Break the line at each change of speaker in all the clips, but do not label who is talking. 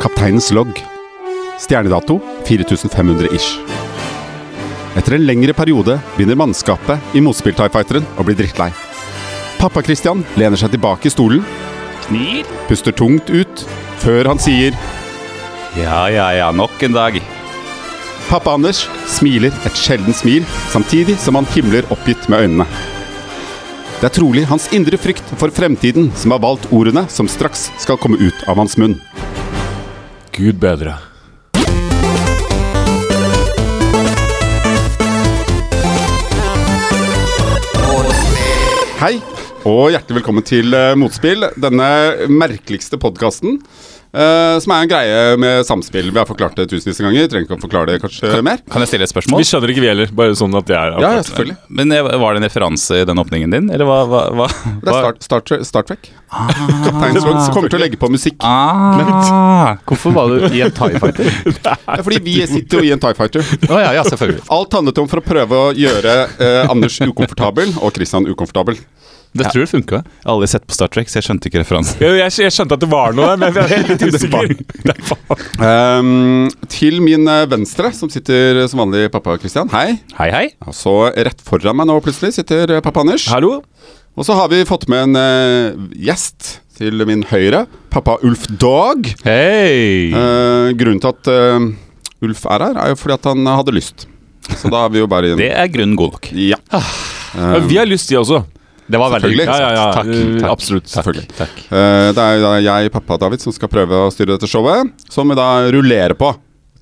Kapteinens logg. Stjernedato 4500 ish. Etter en lengre periode begynner mannskapet i motspill-Tifighteren å bli drittlei. Pappa Christian lener seg tilbake i stolen,
Knir?
puster tungt ut, før han sier
Ja, ja, ja, nok en dag.
Pappa Anders smiler et sjeldent smil, samtidig som han himler oppgitt med øynene. Det er trolig hans indre frykt for fremtiden som har valgt ordene som straks skal komme ut av hans munn.
Gud bedre.
Hei, og hjertelig velkommen til eh, Motspill, denne merkeligste podkasten. eh, som er en greie med samspill. Vi har forklart det tusenvis av ganger. Trenger ikke å forklare det kanskje mer.
Kan jeg stille
Vi
et spørsmål?
skjønner ikke vi heller, bare sånn at det er
Ja, ja, selvfølgelig.
Men eh, Var det en referanse i den åpningen din, eller hva? hva, hva?
Det er Star, Star, Tre- Star Trek. Kaptein Svog kommer til å legge på musikk.
Ah,
Hvorfor var du i en Thai Fighter?
Det er fordi vi sitter jo i en Tie Fighter.
Å ja, ja, selvfølgelig.
Alt handlet om for å prøve å gjøre eh, Anders ukomfortabel og Christian ukomfortabel.
det tror jeg funka. Jeg har aldri sett på Star Trek, så jeg skjønte ikke referansen.
Jeg, jeg, jeg skjønte at det var noe der, men jeg er helt usikker. Det er faen.
Ehm, til min eh, venstre, som sitter som vanlig pappa Christian. Hei.
Hei, hei.
Og så rett foran meg nå plutselig sitter eh, pappa Anders.
Hallo?
Og så har vi fått med en eh, gjest til min høyre. Pappa Ulf Dog.
Hei!
Eh, grunnen til at eh, Ulf er her, er jo fordi at han hadde lyst. Så da er vi jo bare
Det
i
er grunnen god nok.
Ja. Eh,
Ja, vi har lyst, de også.
Det var veldig
Selvfølgelig.
Ja, ja, ja.
Takk,
Eh,
takk.
Absolutt.
Selvfølgelig.
Takk.
Eh, det er jo da jeg, pappa og David, som skal prøve å styre dette showet, som vi da rullerer på.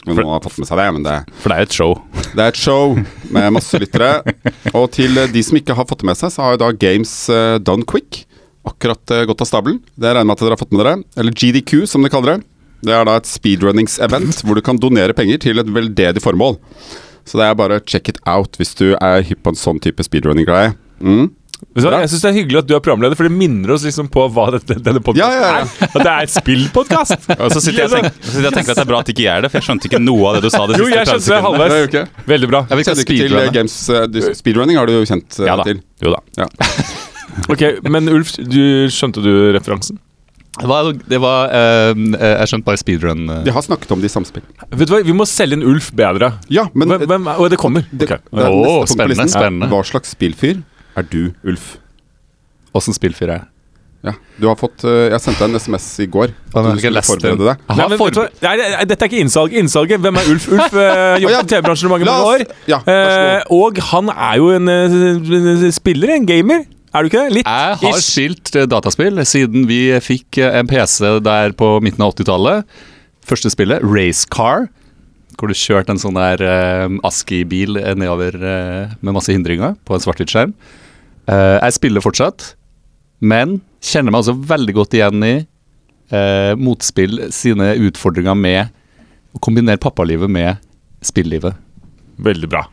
Men Noen har fått med seg det, men det
For det er et show.
Det er et show med masse lyttere. Og til eh, de som ikke har fått det med seg, så har jo da Games eh, Done Quick akkurat eh, gått av stabelen. Det regner jeg med at dere har fått med dere. Eller GDQ, som de kaller det. Det er da et speedrunnings-event hvor du kan donere penger til et veldedig formål. Så det er bare check it out hvis du er hypp på en sånn type speedrunning-greie. Mm.
Vet du hva,
Bra.
Jeg syns det er hyggelig at du er programleder, for det minner oss liksom på hva dette, denne podkasten
Ja, ja, ja.
er. At det er et spillpodkast!
Og så sitter jeg og tenker, så sitter jeg og tenker at det er bra at ikke jeg er det, for jeg skjønte ikke noe av det du sa. de
Jo,
siste
jeg
30
skjønte det
sekundene.
Det er jo
halvveis.
ikke
Veldig bra.
Jeg vil ikke
Kjenner du ikke til eh,
speedrunne.
games eh, du- Speedrunning har du jo kjent eh,
Ja da.
til.
Jo da.
Ja.
Ok, Men Ulf, du, skjønte du referansen?
Det var, det var eh, eh, Jeg skjønte bare speedrun. eh.
De har snakket om det i samspill.
Vet du hva, Vi må selge inn Ulf bedre.
Ja, men
hvem, hvem, og det kommer.
Det,
Ok.
det er neste
Åh,
punkt på
spennende,
listen.
spennende.
Hva slags spillfyr er du, Ulf?
Åssen spillfyr er jeg?
Ja, du har fått eh, Jeg sendte deg en SMS i går.
Hva
At
med
du
jeg
skulle
leste den?
forberede deg.
Jeg
Nei,
har
men, vet du
for...
hva? nei, nei, nei, dette er ikke innsalg. Innsalget, hvem er Ulf? Ulf uh,
Å, ja.
jobber på TV-bransjen i mange,
La
mange
oss-
år.
ja, vær
Eh, og han er jo en eh, spiller, en gamer. Er du ikke det? Litt?
Jeg har
Ish.
skilt eh, dataspill siden vi fikk eh, en PC der på midten av 80-tallet. Første spillet, Race Car, hvor du kjørte en sånn der eh, ASCII-bil eh, nedover eh, med masse hindringer på en svart-hvitt-skjerm. Eh, jeg spiller fortsatt, men kjenner meg altså veldig godt igjen i eh, motspill sine utfordringer med å kombinere pappalivet med spillivet.
Veldig bra.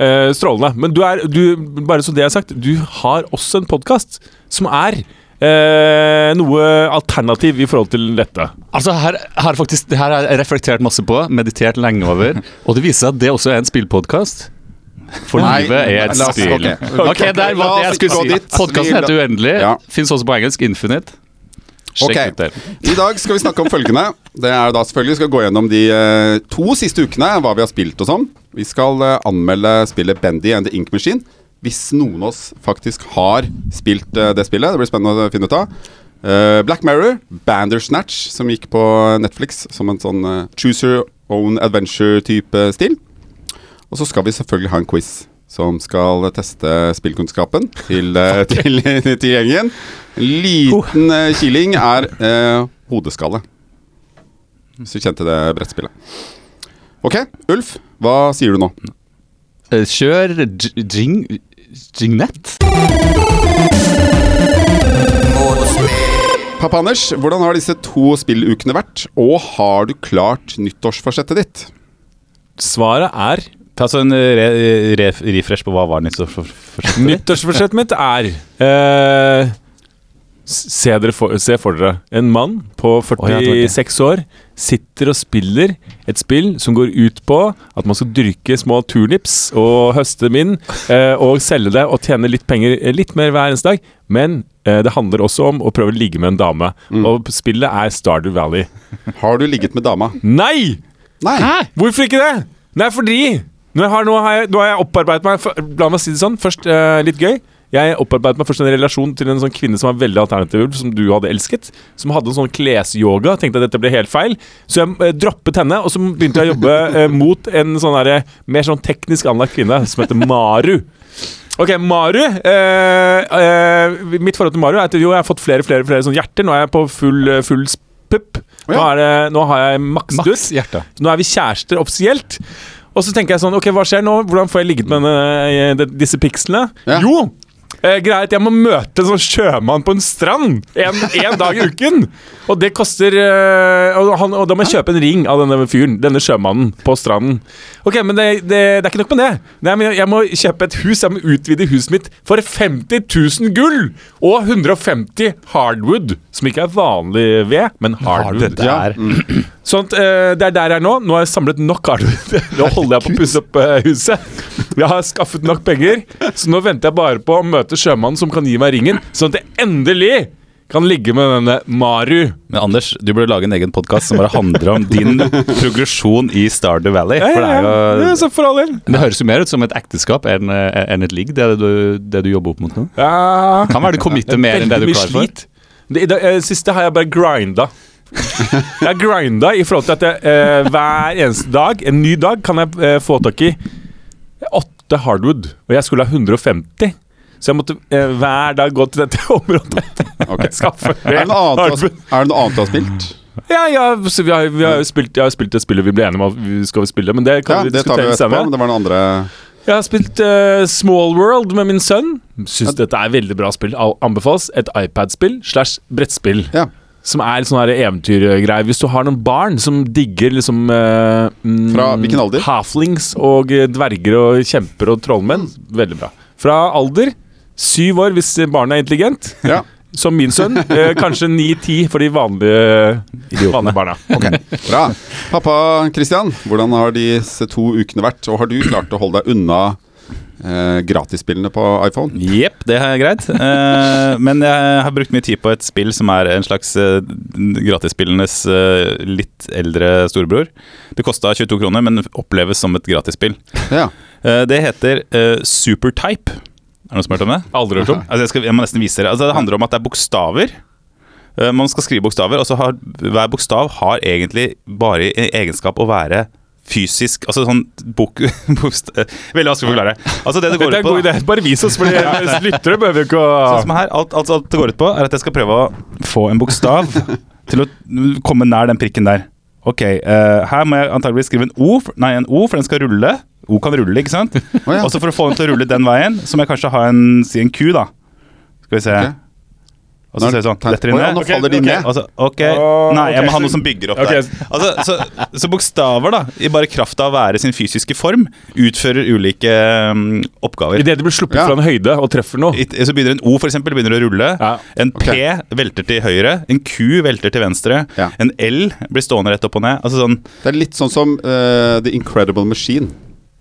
Eh, strålende. Men du er, du, bare så det er sagt, du har også en podkast som er eh, noe alternativ i forhold til dette.
Altså her, her faktisk, det her har jeg reflektert masse på, meditert lenge over, og det viser seg at det også er en spillpodkast. For
Nei,
livet er et
la oss-
spill.
ok.
Ok, der var det
La oss
jeg skulle
ikke gå
si.
dit. Vi-
Podkasten heter Uendelig.
Ja.
Fins også på engelsk. Infinite. Sjekk
Ok.
ut det.
I dag skal vi snakke om følgende. Det er da selvfølgelig Vi skal gå gjennom de eh, to siste ukene, hva vi har spilt og sånn. Vi skal eh, anmelde spillet Bendy and the Ink Machine. Hvis noen av oss faktisk har spilt eh, det spillet. Det blir spennende å finne ut av. Eh, Black Mirror, Bandersnatch, som gikk på Netflix som en sånn eh, choose your own adventure-type eh, stil. Og så skal vi selvfølgelig ha en quiz som skal teste spillkunnskapen til, eh, til, til gjengen. En liten eh, kiling er eh, hodeskalle. Hvis du kjente det brettspillet. Ok, Ulf. Hva sier du nå?
Eh, Kjør j- jing... Jingnet?
Pappa Anders, hvordan har disse to spillukene vært? Og har du klart nyttårsforsettet ditt?
Svaret er
Ta så en eh, re, re, refresh på hva var nytt. så for- for-
Nyttårsforsettet mitt er eh, s- se, dere for, se for dere en mann på
Å, ja, det var det.
46 år sitter og spiller et spill som går ut på at man skal dyrke små turnips og høste dem inn eh, og selge det og tjene litt penger eh, litt mer hver eneste dag, men eh, Eh, Det handler også om å prøve å ligge med en dame.
Mm.
Og spillet er Stardew Valley.
Har du ligget med dama?
Nei!
Nei!
Hvorfor ikke det? Nei, fordi Nå har, nå har, jeg, nå har jeg opparbeidet meg for, La meg si det sånn, først eh, litt gøy Jeg opparbeidet meg først en relasjon til en sånn kvinne Som var veldig alternativ, som du hadde elsket Som hadde en sånn klesyoga Tenkte at dette ble helt feil Så jeg eh, droppet henne, og så begynte jeg å jobbe eh, Mot en sånn der, mer sånn teknisk anlagt kvinne Som heter Maru Ok, Maru eh, eh, Mitt forhold til Maru er at jo, jeg har fått flere, flere, flere sånne hjerter Nå er jeg på full, eh, full
Å
pupp nå,
ja.
er det, nå har jeg maksdut
Maks hjerte.
nå er vi kjærester offisielt. Og så tenker jeg sånn, ok, hva skjer nå? Hvordan får jeg ligget med denne, eh, de- disse pikslene?
Ja.
Jo! Eh, greia er at jeg må møte en sånn sjømann på en strand en, en dag i uken! Og det koster eh, og, han, og da må jeg kjøpe en ring av denne fyren, denne sjømannen, på stranden. Ok, men det, det, det er ikke nok med det. Nei, men jeg, jeg må kjøpe et hus, jeg må utvide huset mitt for 50 000 gull! Og 150 hardwood, som ikke er vanlig ved, men hardwood.
Det er
Mm,
Sånn at, eh, det er der jeg er nå. Nå har jeg samlet nok arbeid. Nå holder jeg på å pusse opp eh, huset. Jeg har skaffet nok penger, så nå venter jeg bare på å møte sjømannen som kan gi meg ringen, sånn at jeg endelig kan ligge med denne Maru.
Men Anders, du burde lage en egen podkast som bare handler om din progresjon i Stardew Valley. For det er
Ja,
jo
så for all del.
Men Det høres jo mer ut som et ekteskap enn eh, enn et ligg, det, er det, du- det du jobber opp mot nå.
Ja,
Kan være du committer mer enn det du er klar for.
slit. Det, det, eh, siste har jeg bare grinda. Jeg grinda i forhold til at jeg, eh, hver eneste dag, en ny dag, kan jeg eh, få tak i åtte hardwood. Og jeg skulle ha 150. Så jeg måtte eh, hver dag gå til dette området.
Ok.
Skaffe
Er det noe annet du har-
hardwood.
er det noe annet du har spilt?
Ja, ja, så vi har, vi har jo spilt, jeg har spilt det spillet vi ble enige om at vi skal spille, men det kan
Ja,
vi
det tar vi
diskutere
etterpå, men
senere.
det var noen andre
Jeg har spilt eh, Small World med min sønn. Syns dette er veldig bra spill. Al- Anbefales et iPad-spill slash brettspill.
Ja.
Som er litt sånn her eventyrgreier. Hvis du har noen barn som digger liksom eh, mm,
Fra hvilken alder?
Halflings og eh, dverger og kjemper og trollmenn. Veldig bra. Fra alder syv år hvis barnet er intelligent,
ja.
som min sønn. Eh, kanskje ni-ti for de vanlige, vanlige barna.
Bra. Pappa Christian, hvordan har disse to ukene vært? Og har du klart å holde deg unna eh, gratisspillene på iPhone?
Jepp, det er greit. Eh, men jeg har brukt mye tid på et spill som er en slags eh, gratisspillenes eh, litt eldre storebror. Det kosta 22 kroner, men oppleves som et gratisspill.
Ja.
Eh, det heter eh, Supertype. Er det noen som har hørt om det?
Aldri hørt om.
Altså jeg, skal, jeg må nesten vise dere. Altså det handler om at det er bokstaver. Eh, Man skal skrive bokstaver, og så har hver bokstav har egentlig bare i egenskap å være fysisk Altså sånn bok... bokst- eh, Veldig vanskelig å forklare. Altså det det går
Dette er
ut
en
på,
god
da,
idé. Bare vis oss, for lyttere behøver jo ikke å
sånn som her, alt, alt, alt det går ut på, er at jeg skal prøve å få en bokstav til å komme nær den prikken der. Ok, eh, her må jeg antageligvis skrive en O, for- nei, en O, for den skal rulle. O kan rulle, ikke sant?
Å ja.
Og så for å få den til å rulle den veien, så må jeg kanskje ha en, si en Q, da. Skal vi se.
Ok.
Og så
Nå er
ser det sånn.
tank- Å
Detter de
ja,
ned?
nå faller de ned.
Og så, ok,
Å,
Nei, jeg
ok.
må ha noe som bygger opp
Ok.
der. Altså, så, så bokstaver, da, i bare kraft av å være sin fysiske form, utfører ulike um, oppgaver.
Idet du blir sluppet
Ja.
fra en høyde og treffer noe.
I- Så begynner en O for eksempel, begynner å rulle.
Ja.
En P
Ok.
velter til høyre. En Q velter til venstre.
Ja.
En L blir stående rett opp og ned. Altså sånn
Det er litt sånn som eh, The Incredible Machine,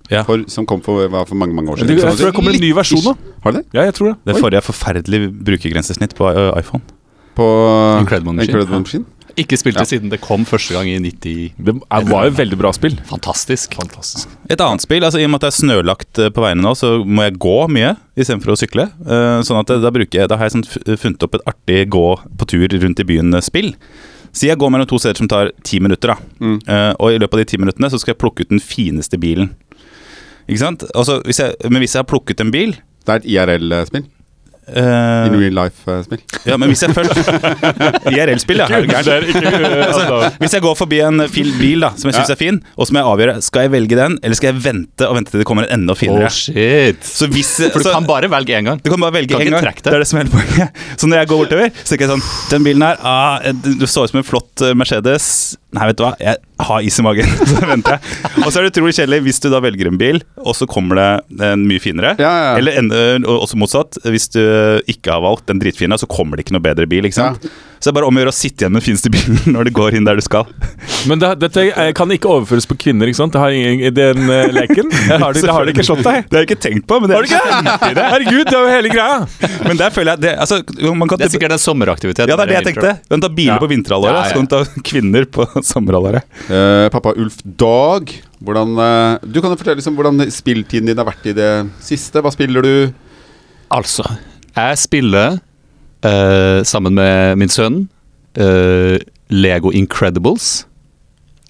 Ja.
for, som kom for, var for mange mange år
Jeg
siden.
tror jeg tror det kommer en ny versjon nå.
Har du det?
Ja, jeg tror det.
Det
Oi.
forrige er forferdelig brukergrensesnitt på uh, iPhone.
På
Incredible Machine.
Incredible Machine?
Ikke spilt det siden det kom første gang i 90
Det er- var jo et veldig bra spill.
Fantastisk.
Et annet spill, altså i og med at det er snølagt eh, på veiene nå, så må jeg gå mye istedenfor å sykle. Eh, Sånn at eh, da, bruker jeg, da har jeg sånn f- funnet opp et artig gå på tur rundt i byen-spill. Si jeg går mellom to steder som tar ti minutter, da.
Mm.
Eh, Og i løpet av de ti minuttene så skal jeg plukke ut den fineste bilen. Ikke sant? Altså, hvis jeg, men hvis jeg har plukket en bil
Det er et IRL-spill.
eh,
In real eh, life-spill.
Ja, men hvis jeg først IRL-spill, ja. Er du gæren? altså, hvis jeg går forbi en fil bil da, som jeg syns er fin, og så må jeg avgjøre skal jeg velge den, eller skal jeg vente og vente til det kommer en enda finere.
Oh shit.
Så hvis
For du
så-
kan bare velge én gang.
du kan bare velge
Kan
en
ikke
gang.
trekke
Det
det.
er det som er hele poenget. Så når jeg går bortover, så tenker jeg sånn Den bilen her, ah, du så ut som en flott eh, Mercedes. Nei, vet du hva, jeg har is i magen. Så venter jeg. Og så er det utrolig kjedelig hvis du da velger en bil, og så kommer det en mye finere. eh,
Ja, ja.
Eller en, ø, og også motsatt. Hvis du ikke har valgt den dritfine, så kommer det ikke noe bedre bil. ikke sant? Så det er bare om å gjøre å sitte igjen med den fineste bilen når du går inn der du skal.
Men det, dette eh, kan ikke overføres på kvinner, ikke sant? Det har ingen, i den eh, leken det har, det, det har det ikke slått deg.
Det har jeg ikke tenkt på, men det,
Har du ikke det? Herregud, det er jo hele greia!
Men der føler jeg det, altså, man kan
Det er sikkert en sommeraktivitet.
Ja, det er det jeg tenkte. Du kan ta biler
Ja.
på vinterhalvåret,
Ja, ja.
så kan du ta kvinner på sommerhalvåret.
Eh, pappa Ulf Dag, hvordan, eh, du kan jo fortelle liksom, hvordan spilltiden din har vært i det siste. Hva spiller du?
Altså, jeg spiller eh, sammen med min sønn eh, Lego Incredibles.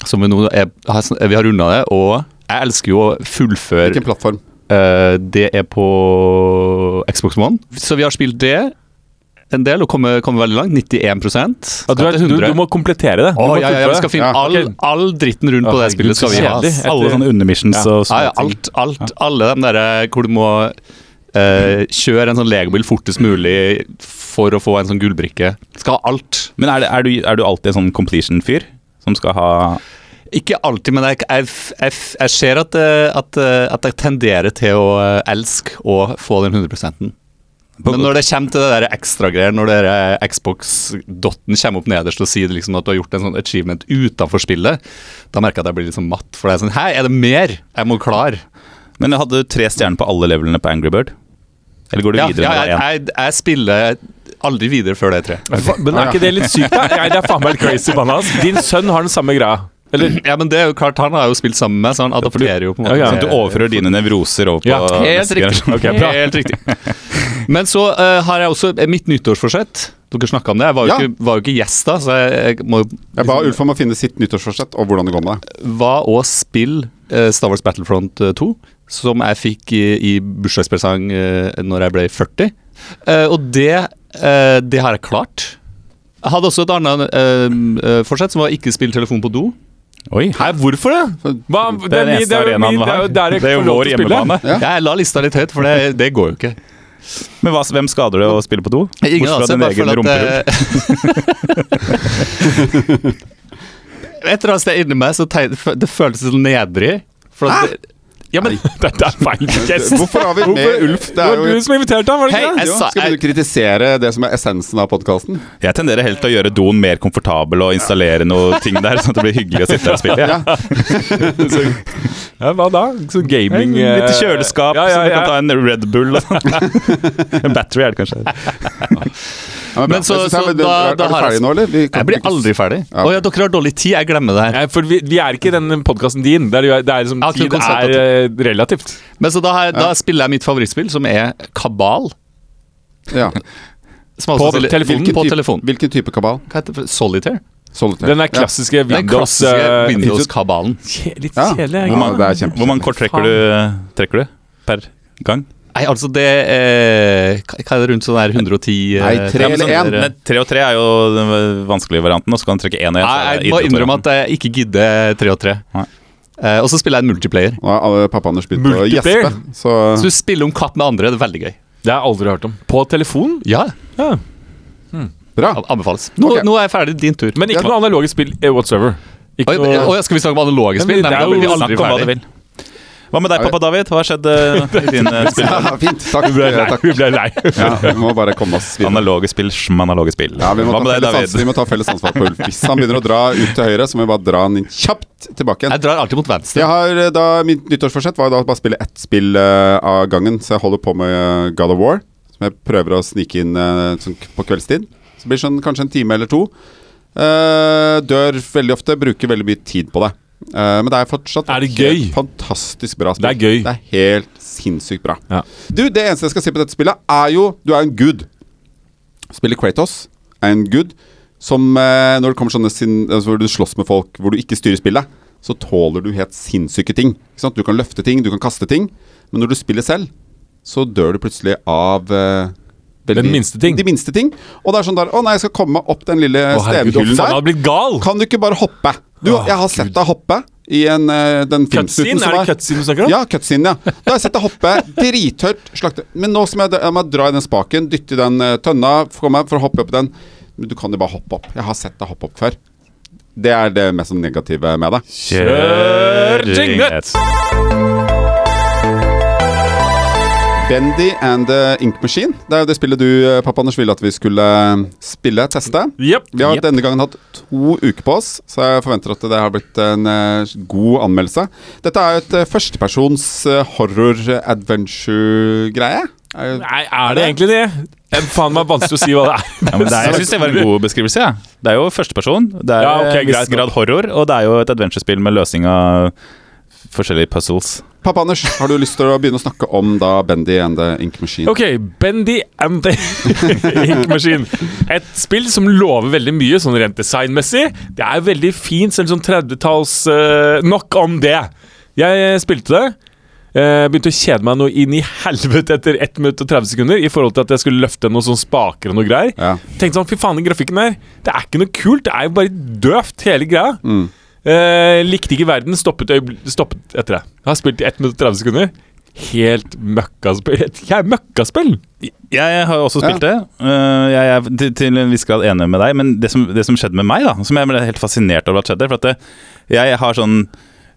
Som vi nå er, har, sn- vi har runda det, og jeg elsker jo å fullføre
Hvilken plattform?
Eh, det er på Xbox One. Så vi har spilt det en del og kommet kommet veldig langt. 91
Ja, du, er, du, du må komplettere det. Du
Å,
må
ja, ja, ja, vi skal finne
Ja.
all,
Ok.
all dritten rundt på
Å,
det
herregud,
spillet. skal vi ha.
kjedelig. Etter-
ass.
sånn
Alle sånne undermissions
Ja.
og
Ja,
sånne
ja, alt, alt, alle de der hvor du må eh, kjøre en sånn legobil fortest mulig for å få en sånn gullbrikke. Skal ha alt.
ting. Men er, det, er, du, er du alltid en sånn completion-fyr? Som skal ha
Ikke alltid, men jeg, jeg, jeg, jeg ser at, eh, at, eh, at jeg tenderer til å eh, elske å få den 100 Men når det kommer til det der ekstragreier, når det der Xbox-dotten kommer opp nederst og sier liksom at du har gjort en sånn achievement utenfor spillet, da merker jeg at jeg blir litt sånn matt. For det er sånn Hei, er det mer? Jeg må klare.
Men jeg hadde tre stjerner på alle levelene på Angry Bird? Eller går du
Ja,
videre
ja,
med
jeg,
én?
jeg, jeg spiller aldri videre før det er tre.
Fa- Men er ikke det litt sykt, da? Nei, det er faen meg litt crazy, banna. ass. Din sønn har den samme greia. Eller
Ja, men det er jo klart, han har jo spilt sammen med, så han adopterer jo på en måte.
Ja, ja.
Sånn at du overfører dine nevroser over på
Ja, helt
neste generasjon.
Ok, bra.
Helt riktig. Men så eh, har jeg også eh, mitt nyttårsforsett. Dere snakka om det. Jeg var jo,
Ja.
ikke, var jo ikke gjest da, så jeg, jeg må
Jeg ba Ulf om å finne sitt nyttårsforsett og hvordan det går med deg.
var å spille eh, Star Wars Battlefront eh, 2, som jeg fikk i, i bursdagspresang eh, når jeg ble 40. Eh, og det, eh, det har jeg klart. Jeg hadde også et annet eh, eh, forsett, som var ikke spille telefon på do.
Oi.
Hæ, hvorfor det? Hva, det, er mi-
eneste
det er jo
arenaen
min-
vi
det er
har.
jo der jeg
Det er jo
får lov
vår
til å spille.
hjemmebane.
Ja.
Jeg la lista litt høyt, for det, det går jo ikke.
Men hva, hvem skader det å spille på do?
Ingen
Bortsett fra din egen rumpehull.
eh, Et eller annet sted inni meg så tegn, det føltes litt nedrig. For at det, ja, men,
Dette er feil gjest.
Hvorfor har vi med Ulf? Det
Det
er
var
jo
du som inviterte ham, var det
Hei,
ikke det?
jeg
jo,
sa-
skal du kritisere det som er essensen av podkasten?
Jeg tenderer helt til å gjøre doen mer komfortabel og installere noe ting der, sånn at det blir hyggelig å sitte der og spille. Ja.
Ja, hva da? Sånn gaming eh,
Litt kjøleskap,
ja, ja,
så du
ja.
kan ta en Red Bull og sånn. en battery er det kanskje.
Ja, bra.
Men så-
Jeg synes det
så
er, da,
da-
er,
da
du
har jeg-
ferdig nå, eller? Vi kan
jeg blir
ikke-
aldri ferdig. Å
Ja.
ja, dere har dårlig tid. Jeg glemmer det her.
Nei, for vi, vi er ikke i den podkasten din. Det er, jo- det er liksom,
Ja, ikke
tid
konseptet.
er eh, relativt.
Men så da, har jeg, da spiller jeg mitt favorittspill, som er Kabal.
Ja.
Som
På
spiller-
telefon.
Hvilken,
På
type,
telefon.
hvilken type kabal?
Hva heter det? for- Solitaire?
Solitaire.
Den er klassiske
Den
Windows.
klassiske
eh,
Windows-kabalen.
kje- litt
Ja.
kjedelig.
Ja,
ikke sant?
det er kjempe-
Hvor mange kort trekker du, trekker du per gang?
Nei, altså det eh, Hva hva er det rundt sånn der 110 eh,
Nei, tre
ja, men
eller
sånn
en.
der-
Nei, Tre og tre er jo den vanskelige varianten, og så kan du trekke én og én.
Nei, jeg må innrømme at jeg ikke gidder tre og tre.
Nei.
Eh, og så spiller jeg en multiplayer.
Nå har alle pappa Anders begynt å
Multiplayer.
gjespe. Så
Så du spiller om kapp med andre. Det er veldig gøy.
Det har jeg aldri hørt om. På telefon?
Ja,
Ja.
bra.
ab- anbefales. Nå,
Ok.
nå er jeg ferdig. Din tur.
Men ikke noe analoge spill eh, whatsoever. Ikke
Oi,
noe-
oi, skal vi snakke om analoge
Men
spill? Nei,
det er
men da
jo-
blir vi
Snakk
aldri
om hva du
ferdig.
vil. Hva med deg, pappa David? Hva har skjedd eh, i din eh, spill?
Ja, fint. Takk.
Vi ble lei.
takk.
Vi ble lei.
Ja, vi må bare komme oss videre.
Analoge spill, analoge spill.
Ja, vi må,
Hva
ta
med deg,
felles ansvar, vi
David?
må ta felles ansvar på Ulf. Hvis han begynner å dra ut til høyre, så må vi bare dra han inn kjapt tilbake
Jeg
igjen.
drar alltid mot venstre.
Jeg har eh, da, Mitt nyttårsforsett var da å bare spille ett spill eh, av gangen, så jeg holder på med eh, God of War. Som jeg prøver å snike inn eh, sånn k- på kveldstid. Så blir det sånn kanskje en time eller to. Eh, dør veldig ofte, bruker veldig mye tid på det. Eh, men det er fortsatt
Er det
et
gøy?
helt fantastisk bra spill.
Det er gøy.
Det er helt sinnssykt bra.
Ja.
Du, Det eneste jeg skal si på dette spillet, er jo Du er en gud. Spiller Kratos er en gud som eh, Når det kommer sånne sin, altså, hvor du slåss med folk hvor du ikke styrer spillet, så tåler du helt sinnssyke ting. Ikke sant? Du kan løfte ting, du kan kaste ting, men når du spiller selv, så dør du plutselig av eh,
Den minste ting.
De minste ting. Og det er sånn der Å nei, jeg skal komme meg opp den lille
Å, herregud,
stenhyllen
han har
der.
blitt gal!
Kan du ikke bare hoppe? Du,
Å,
jeg har sett deg hoppe i en, eh, den filmsnutten
Cutscene?
som
Er det
var-
cutscene du snakker om?
ja, cutscene, ja. Da har jeg sett deg hoppe drithørt. Slakte. Men nå som jeg, jeg må dra i den spaken, dytte i den eh, tønna for, meg, for å hoppe opp i den. Men du kan jo bare hoppe opp. Jeg har sett deg hoppe opp før. Det er det mest sånn negative med det.
Eh,
Kjør
Kjør jingle!
Bendy and the Ink Machine. Det er jo det spillet du, eh, pappa Anders, ville at vi skulle eh, spille, teste.
Jepp.
Vi har
Yep.
denne gangen hatt to uker på oss, så jeg forventer at det har blitt en eh, god anmeldelse. Dette er jo et eh, førstepersons eh, horror-adventure-greie. Eh, Er jo-
Nei, er det egentlig det? Det er faen meg vanskelig å si hva det er.
Ja, men det er, jeg syns det var en god beskrivelse. Ja. Det er jo førsteperson. Det er
Ja, ok,
en viss
greit nok.
grad horror, og det er jo et adventurespill med løsning av forskjellige puzzles.
Pappa Anders, har du lyst til å begynne å snakke om da Bendy and the Ink Machine?
Ok, Bendy and the Ink Machine. Et spill som lover veldig mye sånn rent designmessig. Det er veldig fint, selv sånn 30-talls eh, Nok om det. Jeg eh, spilte det. eh, begynte å kjede meg noe inn i helvete etter 1 minutt og 30 sekunder i forhold til at jeg skulle løfte noen sånne spaker og noe greier.
Ja.
Tenkte sånn, fy faen, den grafikken der, det er ikke noe kult. Det er jo bare døvt, hele greia.
Mm.
Eh, likte ikke verden, stoppet, øyebl- stoppet etter det. Jeg har spilt i 1 minutt og 30 sekunder. Helt møkkaspill. Et jæ- møkkaspill!
Jeg har jo også spilt det. Eh, Jeg er til- til en viss grad enig med deg, men det som, det som skjedde med meg, da, som jeg ble helt fascinert over at skjedde For at det, jeg har sånn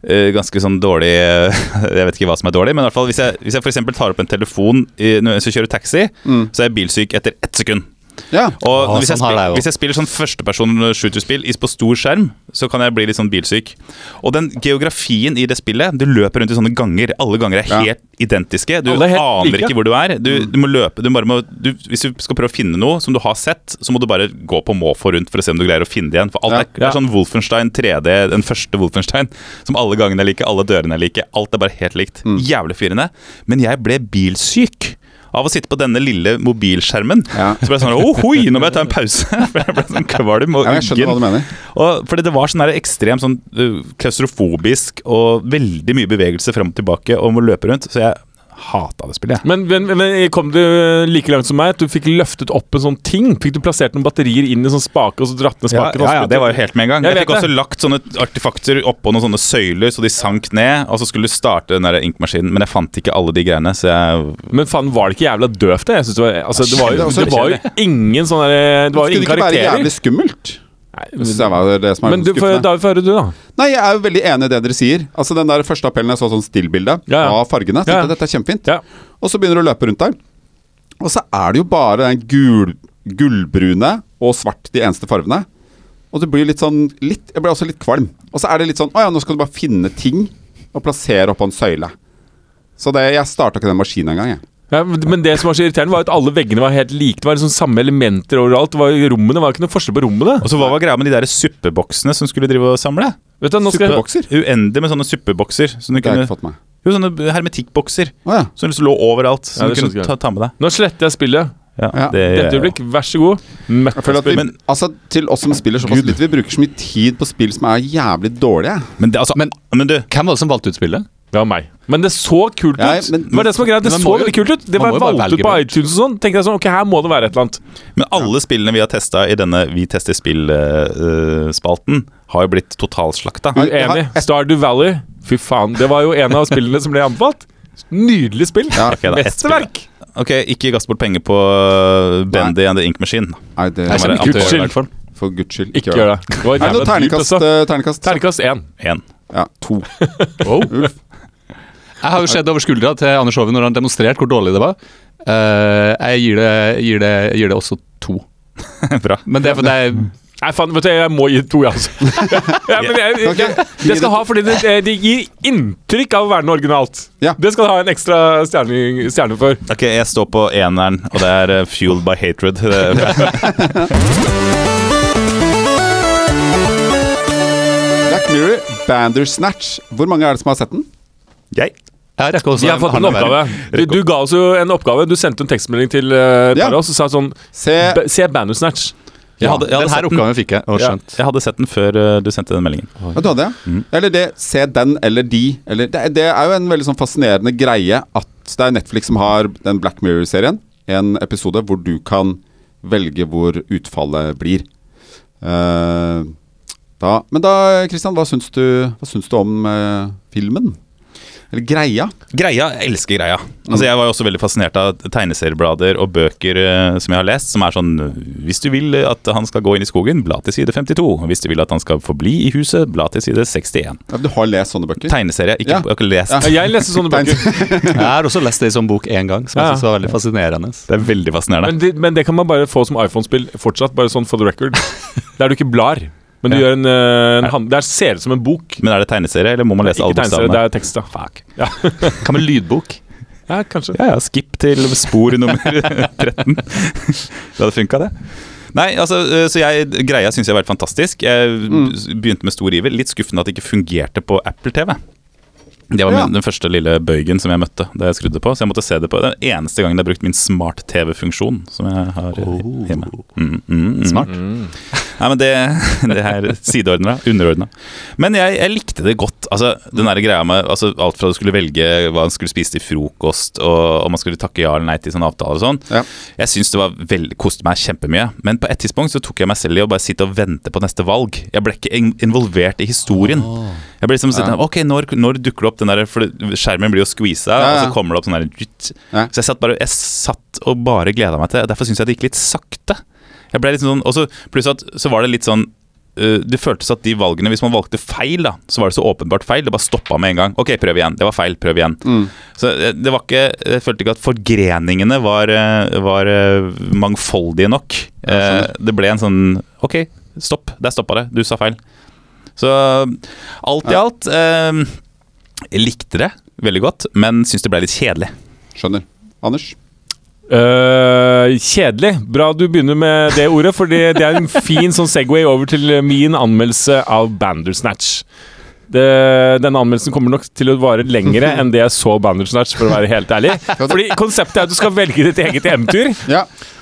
eh, ganske sånn dårlig eh, Jeg vet ikke hva som er dårlig, men i hvert fall hvis jeg, hvis jeg f.eks. tar opp en telefon i, når jeg kjører taxi, så er jeg bilsyk etter ett sekund.
Ja.
Og
Å,
hvis, jeg
sånn har
spiller,
jeg jo.
hvis jeg spiller sånn førsteperson shooterspill i- på stor skjerm, så kan jeg bli litt sånn bilsyk. Og den geografien i det spillet Du løper rundt i sånne ganger. Alle ganger er
Ja.
helt identiske. Du
Alle er helt
aner
like.
ikke hvor du er. Du, du må løpe du bare må, du, Hvis du skal prøve å finne noe som du har sett, så må du bare gå på måfå rundt for å se om du greier å finne det igjen. For alt
Ja.
er, det er sånn Wolfenstein 3D, den første Wolfenstein, som alle gangene er like, alle dørene er like. Alt er bare helt likt.
Mm.
Jævlig forvirrende. Men jeg ble bilsyk. Av å sitte på denne lille mobilskjermen.
Ja.
Så ble jeg sånn Å, hoi, nå må jeg ta en pause! For jeg ble sånn kvalm og
Ja, men jeg skjønner hva du
uggen.
mener.
Og- Fordi det var sånn der ekstremt sånn uh, klaustrofobisk og veldig mye bevegelse frem og tilbake og må løpe rundt, så jeg hata det spillet. jeg.
Men, men, men kom du like langt som meg? At du fikk løftet opp en sånn ting? Fikk du plassert noen batterier inn i en sånn spake, og så dratt ned
Ja,
spaken?
ja, ja, det var jo helt med en gang.
Jeg
Jeg, fikk
vet
også lagt sånne artefakter oppå noen sånne søyler, så de sank ned. Og så skulle du starte den der inkmaskinen, men jeg fant ikke alle de greiene, så jeg
Men faen, var det ikke jævla døvt, det? Jeg synes det, var, altså, det, var
Det
jo,
er også
det var jo ingen sånn
Skulle det
derre Det var jo ingen
ikke være
karakterer.
jævlig skummelt?
Nei,
Jeg synes det var det som er
men du, for,
skuffende.
David, få høre du, da.
Nei, jeg er jo veldig enig i det dere sier. Altså Den der første appellen jeg så sånn stillbilde
Ja, ja.
av fargene.
Ja,
Tenkte,
ja.
Dette er kjempefint.
Ja.
Og så begynner du å løpe rundt der. Og så er det jo bare den gul, gullbrune og svart de eneste fargene. Og det blir litt sånn litt, Jeg blir også litt kvalm. Og så er det litt sånn Å ja, nå skal du bare finne ting og plassere oppå en søyle. Så det, jeg starta ikke den maskinen engang, jeg.
Ja, men men det som var så irriterende, var at alle veggene var helt like. Det var liksom samme elementer overalt. Det var jo rommene, det var ikke noe forskjell på rommene.
Og så hva var greia med de der suppeboksene som skulle drive og samle?
Vet du, nå skal jeg,
Superbokser?
Uendelig med sånne suppebokser. Som du
Det har
kunne,
jeg ikke fått med meg.
jo, sånne hermetikkbokser.
Å ja.
Som liksom lå overalt.
Ja,
Som
det
du kunne
skjønte jeg.
ta, ta med deg.
nå sletter jeg spillet.
Ja.
det gjør
Dette
jeg
øyeblikk, vær så god.
Jeg føler at vi,
Men-
altså, til oss som spiller såpass litt, vi bruker så mye tid på spill som er jævlig dårlige.
jo. Men, det, altså, men,
Men-
du,
Hvem var det som valgte ut spillet?
Det var meg. Men det så kult ut.
Nei, men-
det var det som var greit. Det
Men man
så
må jo-
veldig kult ut. Det
man
var
må jo bare
valgt ut på
velge bort.
iTunes og sånn. Tenkte jeg sånn, ok, her må det være et eller annet.
men alle spillene vi har testa i denne Vi tester spill-spalten, har jo blitt totalslakta.
Nei, jeg har
Uenig.
ett-
Stardew Valley. Fy faen. Det var jo en av spillene som ble anbefalt. Nydelig spill.
Ja.
Ok, da, ett spill, da.
Mesterverk.
Ok, ikke kast bort penger på uh, Bendy and the Ink Machine.
Nei, det,
Jeg
var det
kjenner ikke ut
antiåret,
til, i
i
hvert fall.
for guds skyld,
Ikke gjør det. det var
Er det noe
jævla dyrt,
terningkast?
altså.
eh, terningkast?
Terningkast én.
En.
Ja, to.
Jeg har jo sett over skuldra til Anders Hoven når han demonstrerte hvor dårlig det var. Eh, jeg gir det, gir, det, gir det også to.
Bra.
Men det er fordi jeg
Nei, faen, vet du, jeg må gi to, jeg, altså. ja, men jeg, jeg,
Ok.
det skal ha fordi det, det gir inntrykk av å være noe originalt.
Ja.
Det skal det ha en ekstra stjerne, stjerne for.
Ok, jeg står på eneren, og det er uh, Fueled by Hatred. Det er bra.
Black Mirror, Bandersnatch. Hvor mange er det som har sett den?
Jeg.
Jeg har rekka også
Vi har fått en
han er verre.
oppgave. Du, du ga oss jo en oppgave. Du sendte en tekstmelding til uh,
Ja. Eh.
Taras og sa sånn
Se
"Be- Se Bandersnatch.
Jeg hadde, jeg
Den
hadde
her
sett den.
oppgaven fikk jeg. Og
Ja.
skjønt.
Jeg hadde sett den før uh, du sendte den meldingen.
Ja, du hadde, ja.
Mm.
Eller det, se den eller de. Eller, det, det er jo en veldig sånn fascinerende greie at det er Netflix som har den Black Mirror-serien. En episode hvor du kan velge hvor utfallet blir. Eh, da, men da, Kristian, hva syns du, hva syns du om eh, filmen? Eller greia.
Greia, jeg elsker greia. Altså Jeg var jo også veldig fascinert av tegneserieblader og bøker eh, som jeg har lest, som er sånn Hvis du vil at han skal gå inn i skogen, bla til side 52. Hvis du vil at han skal forbli i huset, bla til side 61.
Ja, Du har lest sånne bøker?
Tegneserie. Ikke,
Ja.
Jeg har ikke lest.
Ja.
Ja, jeg leste sånne bøker,
Jeg har også lest det som bok én gang, som
Ja.
jeg synes var veldig fascinerende.
Det er veldig fascinerende.
men det, men det kan man bare få som iPhone-spill fortsatt, bare sånn for the record. Der du ikke blar, men du
Ja.
gjør en, eh, en hand... Der ser det ut som en bok.
Men er det tegneserie, eller må man lese
Ikke
alle
tegneserie, det
bokstavene?
er tekst, da. Fuck. Ja,
Hva med lydbok?
ja kanskje.
Ja, ja, skip til spor nummer 13. det hadde funka, det. Nei, altså, eh, så jeg, Greia syns jeg har vært fantastisk. Jeg s- begynte med stor iver. Litt skuffende at det ikke fungerte på Apple TV. Det var
Ja.
min, den første lille bøygen som jeg møtte da jeg skrudde på. Så jeg måtte se det på den eneste gangen jeg har brukt min smart-TV-funksjon som jeg har eh, hjemme. Mm, mm, mm.
Smart.
Nei, men det, det er sideordna. Underordna. Men jeg, jeg likte det godt. Altså, den der greia med altså, Alt fra du skulle velge hva man skulle spise til frokost, og om man skulle takke ja eller nei til sånne avtaler og sånn.
Ja.
Jeg syns det var vel- koste meg kjempemye. Men på et tidspunkt så tok jeg meg selv i å bare sitte og vente på neste valg. Jeg ble ikke in- involvert i historien. Jeg ble liksom sittende, Ok, når, når dukker det opp den der For det- skjermen blir jo squeeza,
Ja, ja.
og så kommer det opp sånn der dytt.
Ja.
Så jeg satt, bare, jeg satt og bare gleda meg til det. Derfor syns jeg det gikk litt sakte. Jeg ble litt sånn, og så Pluss at så var det litt sånn øh, det føltes at de valgene, Hvis man valgte feil, da så var det så åpenbart feil. Det bare stoppa med en gang. Ok, prøv igjen. Det var feil. Prøv igjen.
Mm.
Så eh, det var ikke Jeg følte ikke at forgreningene var, eh, var eh, mangfoldige nok. Eh, det ble en sånn Ok, stopp. Der stoppa det. Du sa feil. Så alt i alt eh, Jeg likte det veldig godt, men syns det ble litt kjedelig.
Skjønner. Anders?
Eh, kjedelig. Bra du begynner med det ordet, for det er en fin sånn segway over til min anmeldelse av Bandersnatch. Det, denne anmeldelsen kommer nok til å vare lengre enn det jeg så Bandersnatch, for å være helt ærlig. Fordi konseptet er at du skal velge ditt eget eventyr.
Ja.